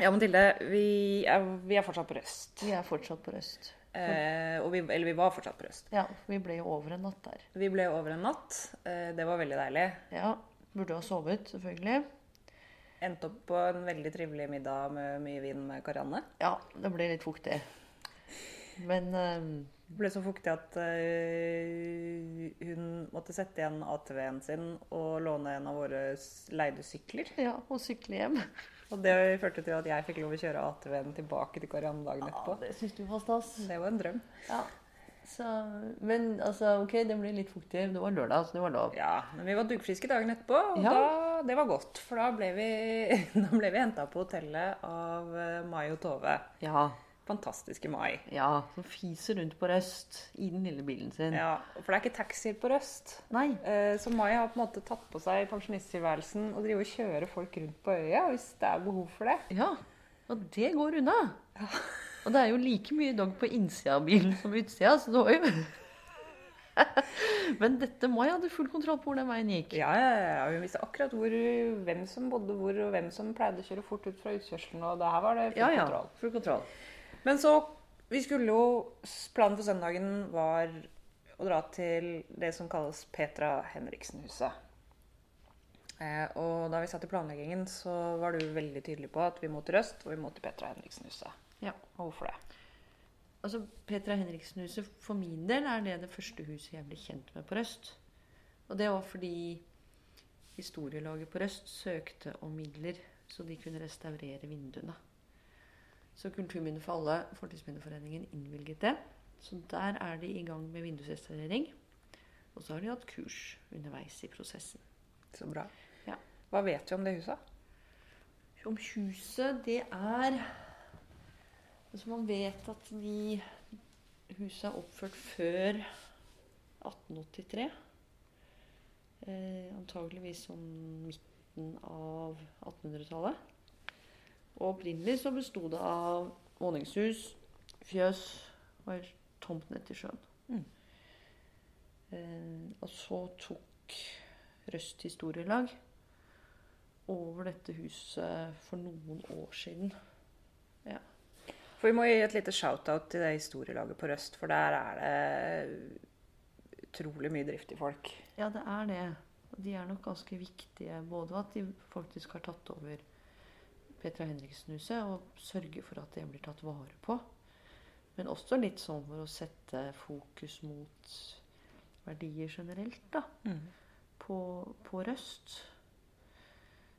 Ja, Mathilde, vi er, vi er fortsatt på Røst. Vi er fortsatt på Røst. Eh, og vi, eller vi var fortsatt på Røst. Ja, vi ble jo over en natt der. Vi ble over en natt. Eh, det var veldig deilig. Ja, Burde ha sovet, selvfølgelig. Endte opp på en veldig trivelig middag med mye vin med Karianne. Ja, det ble litt fuktig. Men eh, Det ble så fuktig at eh, hun måtte sette igjen ATV-en sin og låne en av våre s- leide sykler. ja, å sykle hjem Og det førte til at jeg fikk lov å kjøre ATV-en tilbake til Karianne dagen ja, etterpå. Det syns du var stas. Det var en drøm. Ja. Så, men altså, OK, det ble litt fuktig. Det var lørdag, så det var lov. Ja, men vi var duggfriske dagen etterpå, og Ja. da, det var godt. For da ble vi, da ble vi henta på hotellet av eh, Mai og Tove. Ja. Fantastiske Mai. ja som fiser rundt på Røst i den lille bilen sin. Ja, for det er ikke taxier på Røst. Nei. Eh, Så Mai har på en måte tatt på seg pensjonisttilværelsen og driver og kjører folk rundt på øya hvis det er behov for det. Ja, og det går unna. Og det er jo like mye dog på innsida av bilen som utsida, så det var jo Men dette må jeg hadde full kontroll på hvor den veien gikk. Ja, ja, ja, hun visste akkurat hvor, hvem som bodde hvor, og hvem som pleide å kjøre fort ut fra utkjørselen. og det her var det full Ja, ja. kontroll. Full kontroll. Men så Vi skulle jo Planen for søndagen var å dra til det som kalles Petra Henriksen-huset. Eh, og da vi satt i planleggingen, så var du veldig tydelig på at vi må til Røst, og vi må til Petra Henriksen-huset. Ja. Og hvorfor det? Altså, Petra Henriksen-huset for min del er det det første huset jeg ble kjent med på Røst. Og det var fordi historielaget på Røst søkte om midler så de kunne restaurere vinduene. Så Kulturminne for alle, Fortidsminneforeningen, innvilget det. Så der er de i gang med vindusrestaurering. Og så har de hatt kurs underveis i prosessen. Så bra. Ja. Hva vet vi om det huset? Om huset, det er Altså, man vet at de huset er oppført før 1883. Eh, antageligvis sånn midten av 1800-tallet. Og opprinnelig så besto det av våningshus, fjøs og ei tomt ned til sjøen. Mm. Eh, og så tok Røst historielag over dette huset for noen år siden. For Vi må gi et lite shout-out til det historielaget på Røst, for der er det utrolig mye driftige folk. Ja, det er det. Og de er nok ganske viktige. Både at de faktisk har tatt over Petra Henriksen-huset og sørger for at det blir tatt vare på. Men også litt sånn for å sette fokus mot verdier generelt, da. Mm. På, på Røst.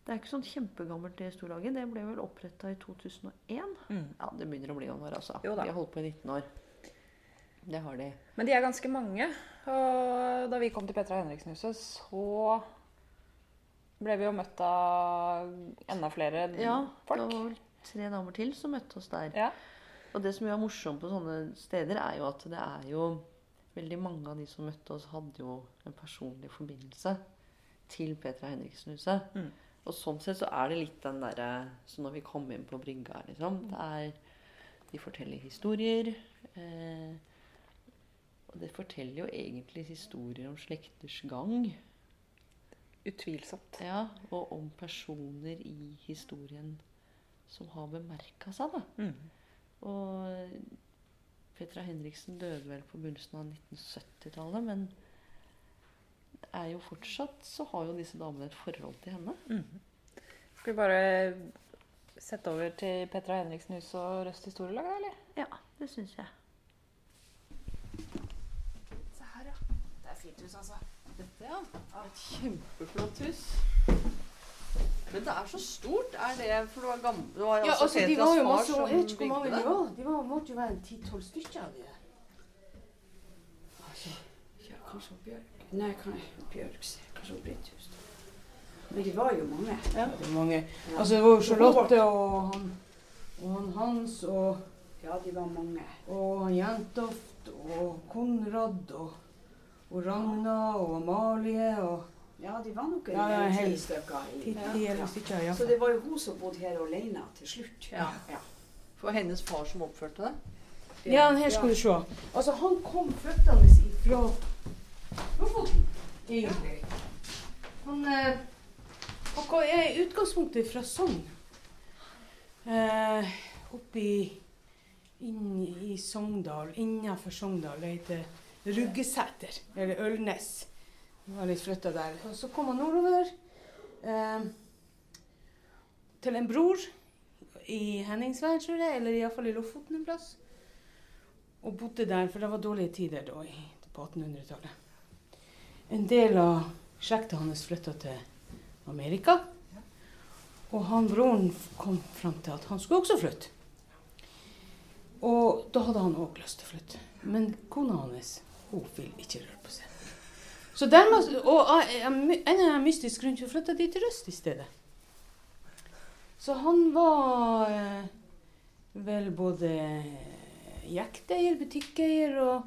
Det er ikke sånn kjempegammelt, det storlaget. Det ble vel oppretta i 2001. Mm. Ja, det begynner å bli noen år, altså. Jo da. De har holdt på i 19 år. Det har de. Men de er ganske mange. Og da vi kom til Petra Henriksen-huset, så ble vi jo møtt av enda flere Ja, det folk. var vel tre damer til som møtte oss der. Ja. Og det som jo er morsomt på sånne steder, er jo at det er jo Veldig mange av de som møtte oss, hadde jo en personlig forbindelse til Petra Henriksen-huset. Mm. Og sånn sett så er det litt den derre Så når vi kom inn på brygga, liksom det er, De forteller historier. Eh, og det forteller jo egentlig historier om slekters gang. Utvilsomt. Ja, og om personer i historien som har bemerka seg, da. Mm. Og Petra Henriksen døde vel på begynnelsen av 1970-tallet, men det er jo fortsatt så har jo disse damene et forhold til henne. Skal vi bare sette over til Petra Henriksen-huset og Røst historielag, da, eller? Ja, det syns jeg. Se her, ja. Det er fint hus, altså. Dette, ja. er Et kjempeflott hus. Men det er så stort. Er det For det var gamle det var Ja, altså, de var jo masse år. Jeg vet ikke hvor mange det. de var. De var, måtte jo være en 10-12 stykker av de der. Altså, ja, kanskje hun Bjørg. Nei, kan Bjørg se. Kanskje hun Britt Hus. Men de var jo mange. Ja, det var mange. Altså, det var jo Charlotte og han, og han Hans og, Ja, de var mange. og han Jentoft og Konrad og, og Ragna og Amalie og Ja, de var nok Ja, ja, en ti helt- stykker. i- ti eller stykker, ja. Så det var jo hun som bodde her alene til slutt. Ja. For hennes far som oppførte det. Ja, her skal du se. Altså, han kom flyttende ifra Lofoten. Egentlig. Han, eh, Han kom- jeg er i utgangspunktet fra Sogn. Eh, oppi inn i Sogndal, innenfor Sogndal, det heter Ruggeseter, eller Ølnes. Han var litt flytta der. Og så kom han nordover eh, til en bror i Henningsvær, tror jeg, eller iallfall i Lofoten en plass. Og bodde der, for det var dårlige tider da, i- på 1800-tallet. En del av slekta hans flytta til Amerika. Og han broren f- kom fram til at han skulle også flytte. Og da hadde han òg lyst til å flytte. Men kona hans hun vil ikke røre på seg. Så dermed, og jeg- jeg my- en eller annen mystisk grunn så flytta de til Røst i stedet. Så han var eh, vel både jekteier, butikkeier og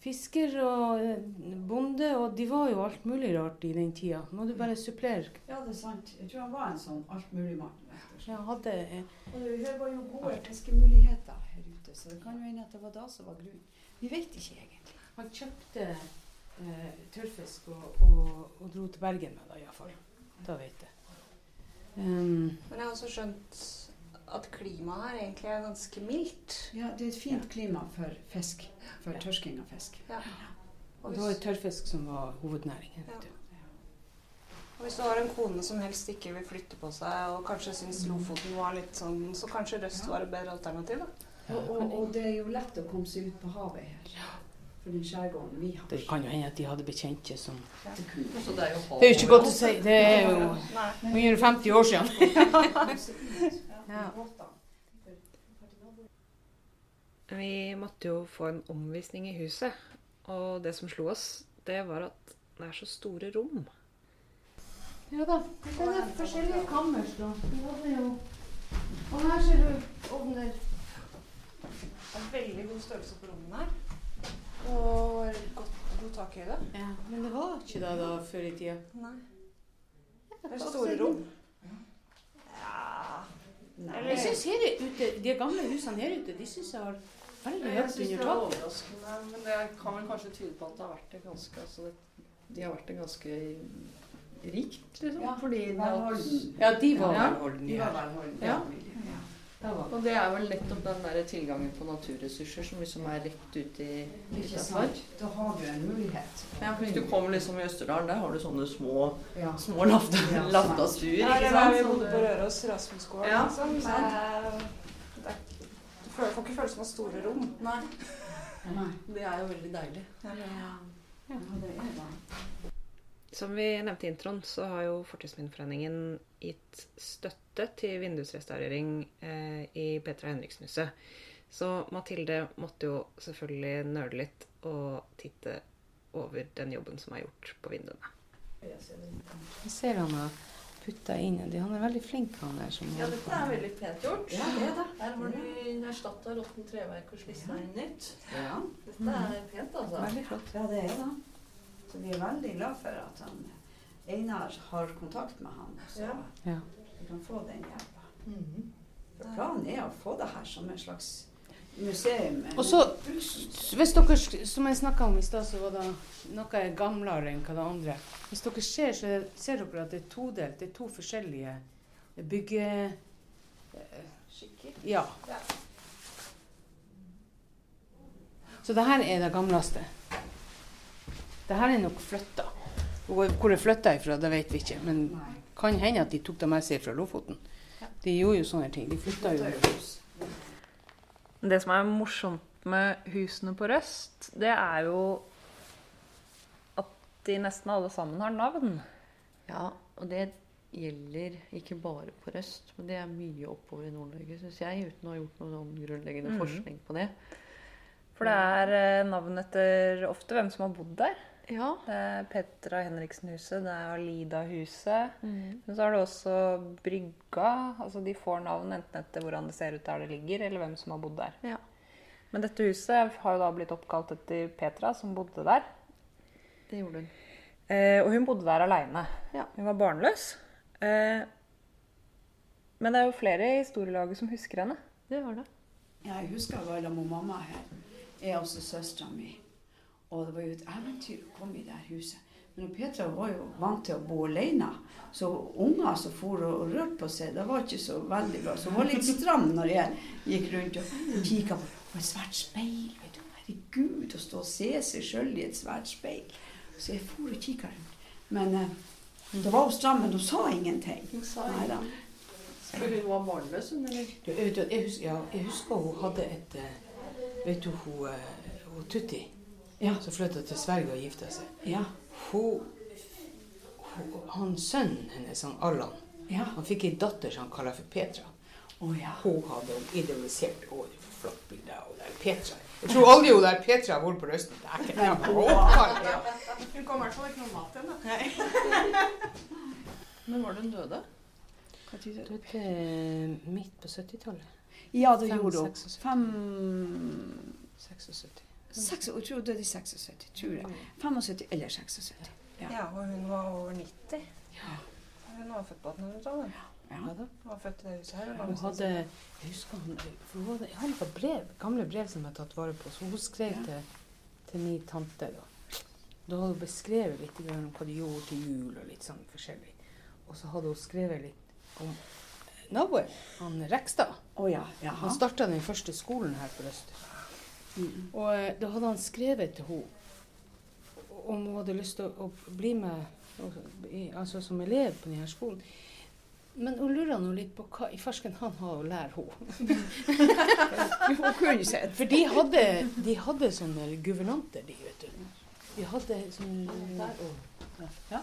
fisker og eh, bonde, og de var jo alt mulig rart i den tida. Må du bare supplere. Ja, det er sant. Jeg tror han var en sånn altmuligmann. rett og slett. Jeg hadde eh, Og det det var jo gode fiskemuligheter her ute, så det kan jo hende at det var da som var grunnen. Vi vet ikke egentlig. Han kjøpte eh, tørrfisk og, og, og dro til Bergen med det, iallfall. Da vet jeg. Ehm, Men jeg har også skjønt at klimaet her egentlig er ganske mildt. Ja, det er et fint klima for fisk. For tørsking av fisk. Ja. og det var jo tørrfisk som var hovednæringen. vet du. Og hvis du har en kone som helst ikke vil flytte på seg, og kanskje syns Lofoten var litt sånn, så kanskje Røst var et bedre alternativ, da. Og, og, og det er jo lett å komme seg ut på havet her. For den skjærgården vi har. Det kan jo hende at de hadde bekjente som Det kunne Så det er jo hav Det er jo ikke godt å overalt. si. Det er jo Nei. 150 år siden. Vi måtte jo få en omvisning i huset, og det som slo oss, det var at det er så store rom. Ja da. Det er forskjellige sånn? kammer. så Vi hadde jo Og her ser du ovner. Det er veldig god størrelse på rommene her. Og godt, god takhøyde. Ja, men det var ikke det da før i tida. Nei. Det er store rom. Ja Nei. Jeg synes her ute, De gamle husene her ute de synes jeg har veldig Jeg høyt synes det under er taket. overraskende, men det kan vel kanskje tyde på at det har vært det ganske altså det, De har vært det ganske rikt, liksom. Ja, fordi det at, Velholden. Ja, de var Ja. velholdne. Vi Ja. var velholden. Ja. Ja. Da var og det er vel nettopp den der tilgangen på naturressurser som liksom er rett ute i Ikke Litauen. sant? Da har du en mulighet. Hvis du kommer liksom i Østerdalen, der har du sånne små, Ja. små lafta, Ja, sant. laftastuer. Ja, ikke eller da vi sant? bodde på Røros, Rasmusgården, Ja, liksom. ikke Det, sant? er- det, er- du føler- får ikke følelsen av store rom. Nei, Nei. det er jo veldig deilig. Ja, det er det. Som vi nevnte i introen, så har jo Fortidsminneforeningen gitt støtte til vindusrestaurering eh, i Petra Henriksen-huset. Så Mathilde måtte jo selvfølgelig nøle litt og titte over den jobben som er gjort på vinduene. Jeg ser han har putta inn en del. Han er veldig flink, han der. Som Ja, dette er veldig pent gjort. Ja, det er det. Her har du erstatta råttent treverk og slissa inn nytt. Ja. Dette er pent, altså. Veldig flott. Ja, det er det. Så vi er veldig glad for at han, Einar har kontakt med han, så Ja. Ja. vi kan få den hjelpa. Mhm. For Planen er å få det her som et slags museum. Og så- Hvis dere, sk- som jeg snakka om i stad, så var det noe er gamlere enn hva det andre. Hvis dere ser, så er- ser dere at det er todelt. Det er to forskjellige bygge... Skikkelig. Ja. Ja. Så det her er det gamleste. Det her er nok flytta. Hvor hvor det flytta ifra, det vet vi ikke. Men Nei. kan hende at de tok det med seg fra Lofoten. De gjorde jo sånne ting. De flytta jo. Det som er morsomt med husene på Røst, det er jo at de nesten alle sammen har navn. Ja, og det gjelder ikke bare på Røst, men det er mye oppover i Nord-Norge, syns jeg, uten å ha gjort noe sånn grunnleggende Mhm. forskning på det. For det er eh, navn etter ofte hvem som har bodd der. Ja. Det er Petra Henriksen-huset, det er Alida-huset. Mm. Men så har du også brygga. altså De får navn enten etter hvordan det ser ut der det ligger, eller hvem som har bodd der. Ja. Men dette huset har jo da blitt oppkalt etter Petra, som bodde der. Det gjorde hun. Eh, og hun bodde der aleine. Ja. Hun var barnløs. Eh, men det er jo flere i historielaget som husker henne. Det var det. Ja, jeg husker jeg var sammen med mamma her. Jeg er også søstera mi. Og det var jo et eventyr å komme i det her huset. Men Petra var jo vant til å bo alene. Så unger som for og og rørte på seg, det var ikke så veldig bra. Så hun var litt stram når jeg gikk rundt og kikka på på et svært speil. Vet du. Herregud, å stå og se seg sjøl i et svært speil. Så jeg for og kikka rundt. Men eh, det var jo stram, men hun sa ingenting. Hun sa Nei da. For hun var barnløs, hun, eller? Du, jeg, vet at jeg, husker, ja, jeg husker hun hadde et eh, Vet du hun, eh, hun Tutti? Ja. Som flytta til Sverige og gifta seg. Ja. Hun, hun Han sønnen hennes, han Allan, Ja. han fikk ei datter som han kaller for Petra. Å ja. Hun hadde hun idealisert Å, det er for flott bilde av hun der Petra. Jeg tror aldri hun der Petra har vært på Røsten. Det er ikke det. Hun kom i hvert fall ikke noe mat til. da. Men var det hun døde? Døde eh, midt på 70-tallet. Ja, det Fem, gjorde hun. seks og sytti. Fem 76. Seks, Mm. jeg tror det er de 76, tror jeg. 75 eller 76. Ja. Ja, og hun var over 90. Ja. Hun var født på 1800-tallet. Ja da. Hun var født i det huset her. Hun hadde Jeg husker han, for hun hadde, han var brev, gamle brev som jeg har tatt vare på. Så hun skrev Ja. til, til min tante. Da Da hadde hun beskrevet litt grann om hva de gjorde til jul og litt sånn forskjellig. Og så hadde hun skrevet litt om eh, naboen, han Rekstad. Å ja. Jaha. Han starta den første skolen her på Øster. Mm. Og eh, da hadde han skrevet til henne om hun hadde lyst til å, å bli med og- i- altså som elev på denne skolen. Men hun lurer nå litt på hva i farsken han har å lære henne. Hun kunne sett. For de hadde, de hadde sånne guvernanter, de, vet du. De hadde sånne ja.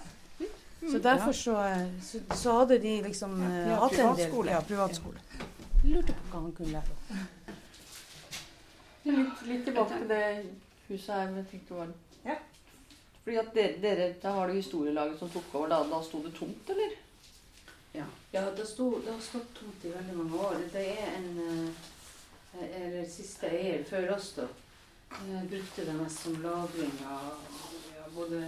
Så derfor så, eh, så, så hadde de liksom eh, Ja, hatt en del privatskole. ja, privatskole. Lurte på hva han kunne lære henne. Litt, litt tilbake til det huset her, men jeg tenkte bare Ja. Fordi at dere, dere, Da var det historielaget som tok over. Da, da sto det tomt, eller? Ja, det, sto, det har stått tomt i veldig mange år. Det er en eh, Eller siste eier før oss, da. eh, Brukte det mest som lagring av ja, både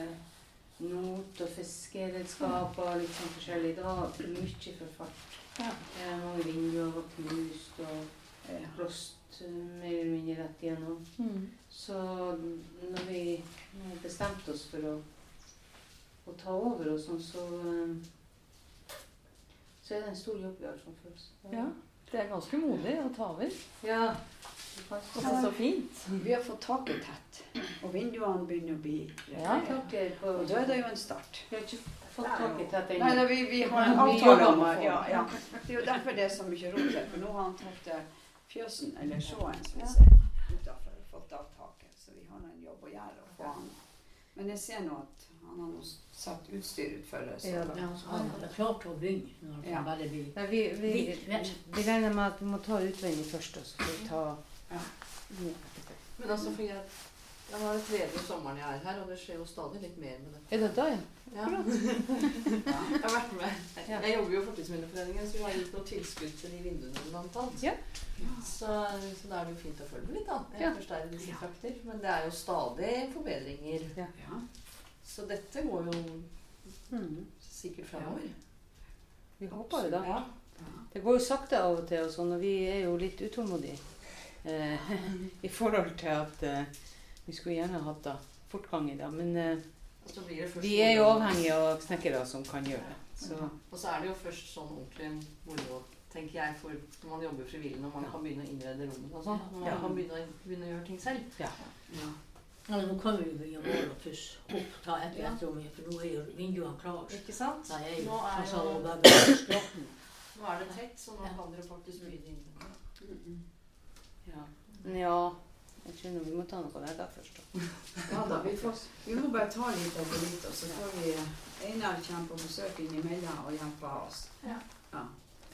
not og fiskeredskaper og litt sånn forskjellig. Det var mye forfall. Ja. Eh, Mange vinduer var knust og blåst eh, mer eller mindre rett igjennom. Mm. Så når vi eh, bestemte oss for å, å ta over og sånn, så eh, så er det en stor jobb vi har sånn for oss. Ja. Det er ganske modig å ta over. Ja, Og det er så fint. Vi har fått taket tett, og vinduene begynner å bli Ja. Taket på- Og da er det jo en start. Vi har ikke fått taket tett Nei, ennå. Vi, har en vi avtale jobber om å med- få- ja, ja. Det er jo derfor det er så mye rot her, for nå har han tatt eh, fjøsen, eller sjåen, som vi Ja. ser, utenfor, og fått av taket. Så vi har nå en jobb å gjøre å få han. Men jeg ser nå at han har nå satt utstyr ut for det. så- Ja. Nei, vi, vi, vi regner med at vi må ta utvendig først, og så får vi ta Ja. Men altså, for jeg, jeg har det tredje sommeren jeg er her, og det skjer jo stadig litt mer med det. Er det da, ja? Ja. Jeg har vært med. Jeg jobber jo i Fortidsminneforeningen, så vi har gitt noe tilskudd til de vinduene blant annet. Ja. Så, så da er det jo fint å følge med litt, da. Jeg Ja. forsterker disse frakter. Men det er jo stadig forbedringer. Ja. Så dette går jo Mhm. sikkert framover. Vi håper jo da. Ja. Det går jo sakte av og til, og sånn, og vi er jo litt utålmodige. Eh, I forhold til at eh, vi skulle gjerne hatt da, fortgang i det. Men eh, Og så blir det først vi er jo avhengige av snekkere som kan gjøre det. Så Og så er det jo først sånn ordentlig moro, tenker jeg, for når man jobber frivillig, når man kan begynne å innrede rommene og sånn. Når man Ja. kan begynne, å- begynne å gjøre ting selv. Ja. Ja, nå kan vi jo begynne å måle og pusse opp ta etter Ja. etter om igjen, for nå er jo vinduene klare. Ikke sant? Nei, jeg Nå er er jo jo- bare skratten. Nå er det tett, så nå kan dere faktisk begynne å innrede. ja. ja jeg tror nå vi må ta noe av det der først. Da. Ja da, vi, får, vi må bare ta litt etter litt, og så får vi Einar kommer på besøk innimellom og hjelper oss. Ja. Ja.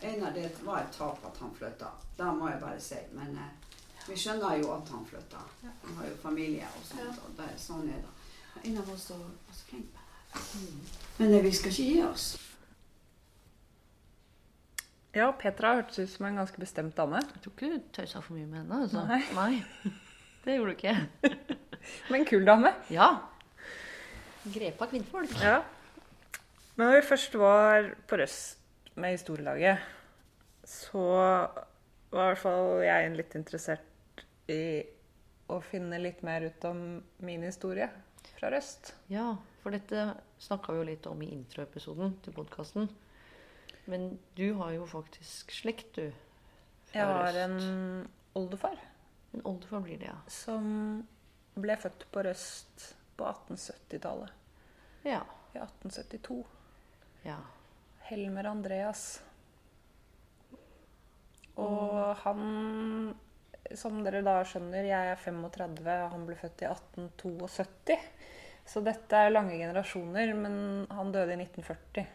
Einar, det var et tap at han flytta. Det må jeg bare si. Men eh, vi skjønner jo at han flytta. Han har jo familie og sånt, og det, sånn er det. Men Einar var så, var så flink på det. Men eh, vi skal ikke gi oss. Ja, Petra hørtes ut som en ganske bestemt dame. Jeg tror ikke du tøysa for mye med henne. altså. Nei. Nei. Det gjorde du ikke. Men en kul dame. Ja. Grepa kvinnfolk. Ja. Men når vi først var på Røst med historielaget, så var i hvert fall jeg litt interessert i å finne litt mer ut om min historie. fra Røst. Ja, for dette snakka vi jo litt om i introepisoden til podkasten. Men du har jo faktisk slekt, du. fra Jeg har Røst. en oldefar En oldefar blir det, ja. som ble født på Røst på 1870-tallet. Ja. I 1872. ja. Helmer Andreas. Og han Som dere da skjønner, jeg er 35, han ble født i 1872. Så dette er lange generasjoner, men han døde i 1940.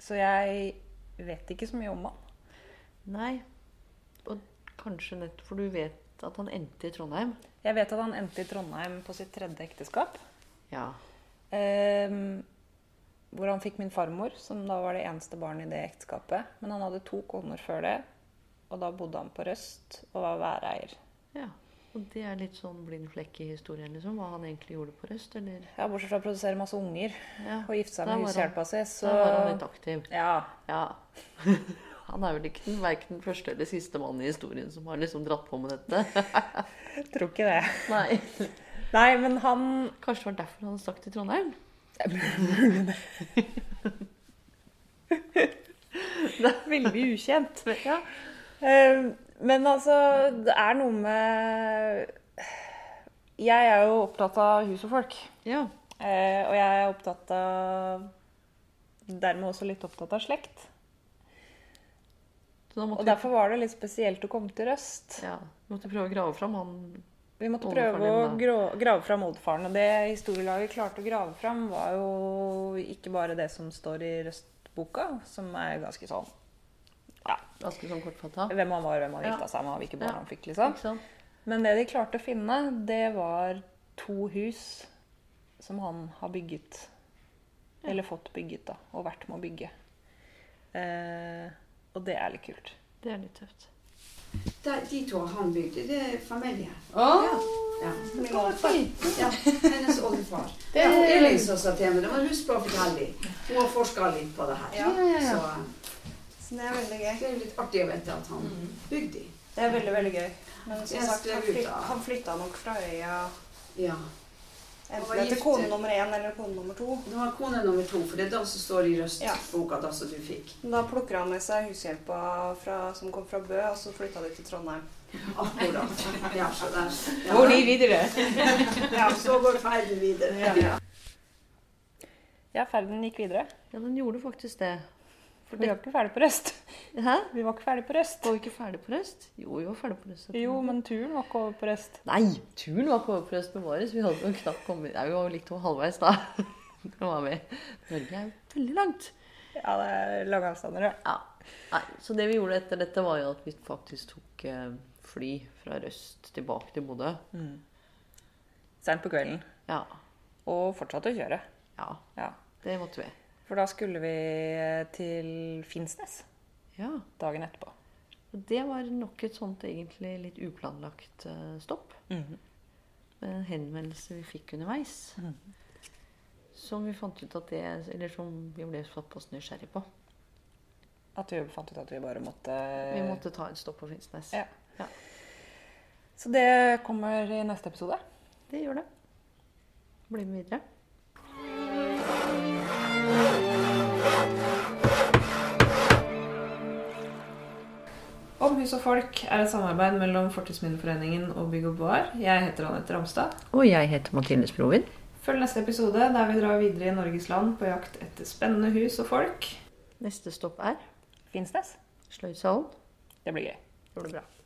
Så jeg vet ikke så mye om han. Nei. Og kanskje nett For du vet at han endte i Trondheim? Jeg vet at han endte i Trondheim på sitt tredje ekteskap. Ja. Ehm, hvor han fikk min farmor, som da var det eneste barnet i det ekteskapet. Men han hadde to koner før det, og da bodde han på Røst og var væreier. ja. Og det er litt sånn blind flekk i historien, liksom. Hva han egentlig gjorde på Røst, eller Ja, Bortsett fra å produsere masse unger ja. og gifte seg Da med var han- hushjelpa si, så Da var han litt aktiv. ja, Ja. Han er vel ikke den, verken den første eller siste mannen i historien som har liksom dratt på med dette. jeg tror ikke det. Nei. Nei, men han Kanskje det var derfor han stakk til Trondheim? Det er veldig ukjent. Ja. Eh, Men altså, det er noe med Jeg er jo opptatt av hus og folk. ja. Eh, og jeg er opptatt av Dermed også litt opptatt av slekt. Så da Og måtte derfor var det litt spesielt å komme til Røst. vi, ja, vi måtte prøve å grave fram han Vi måtte Oldefaren prøve å din, da. grå- grave fram oldefaren. Og det historielaget klarte å grave fram, var jo ikke bare det som står i Røstboka, som er ganske sånn ganske sånn kortfatta. Hvem han var, hvem han Ja. gifta seg med, og hvilke barn Ja. han fikk, liksom. Ikke sant? Men det de klarte å finne, det var to hus som han har bygget. Eller fått bygget, da. Og vært med å bygge. Eh, og det er litt kult. Det er litt tøft. Der, de to han bygde, det er familie. Ja. Min oldefar. Ja, hennes oldefar. Det Ja, er- Elin som sa til meg det, men husk på å fortelle litt. Hun har forska litt på det her. Ja, Så Så det er veldig eh, gøy. det er jo litt artig å vite at han bygde de. Det er veldig, veldig gøy. Men Jeg som sagt, han skrev ut flytta, av- han flytta nok fra øya Ja. enten var det er til gift, kone du. nummer én eller kone nummer to. Det var kone nummer to, for det er den som står i Ja. Røst-boka, da som du fikk. Men Da plukker han med seg hushjelpa fra, som kom fra Bø, og så flytta de til Trondheim. Akkurat. Ja, så der. Ja. Går de videre? Ja, Så går ferden videre. ja, ja. Ja, ferden gikk videre. Ja, den gjorde faktisk det. For vi var ikke ferdig på Røst. Hæ? Vi var ikke ferdig på Røst. Var vi ikke ferdig på Røst? Jo, vi var ferdig på Røst. Jo, men turen var ikke over på Røst. Nei, turen var ikke over på Røst bevares. Vi hadde jo knapt kommet Nei, vi var jo litt over halvveis da. Nå var vi Norge er jo veldig langt. Ja, det er lange avstander, ja. Ja. Nei, så det vi gjorde etter dette, var jo at vi faktisk tok eh, fly fra Røst tilbake til Bodø. Seint på kvelden. Ja. Og fortsatte å kjøre. ja. Ja. Det måtte vi. For da skulle vi eh, til Finnsnes Ja. dagen etterpå. Og det var nok et sånt egentlig litt uplanlagt eh, stopp. Med en henvendelse vi fikk underveis. Som vi fant ut at det Eller som vi ble såpass nysgjerrig på. At vi fant ut at vi bare måtte Vi måtte ta et stopp på Finnsnes. Ja. Så det kommer i neste episode. Det gjør det. Bli med videre. Om hus og folk er et samarbeid mellom Fortidsminneforeningen og Bygg og Bar. Jeg heter Anette Ramstad. Og jeg heter Mathilde Sprovin. Følg neste episode der vi drar videre i Norges land på jakt etter spennende hus og folk. Neste stopp er Finnsnes. Sløydsalen. Det blir gøy. Gjorde det bra.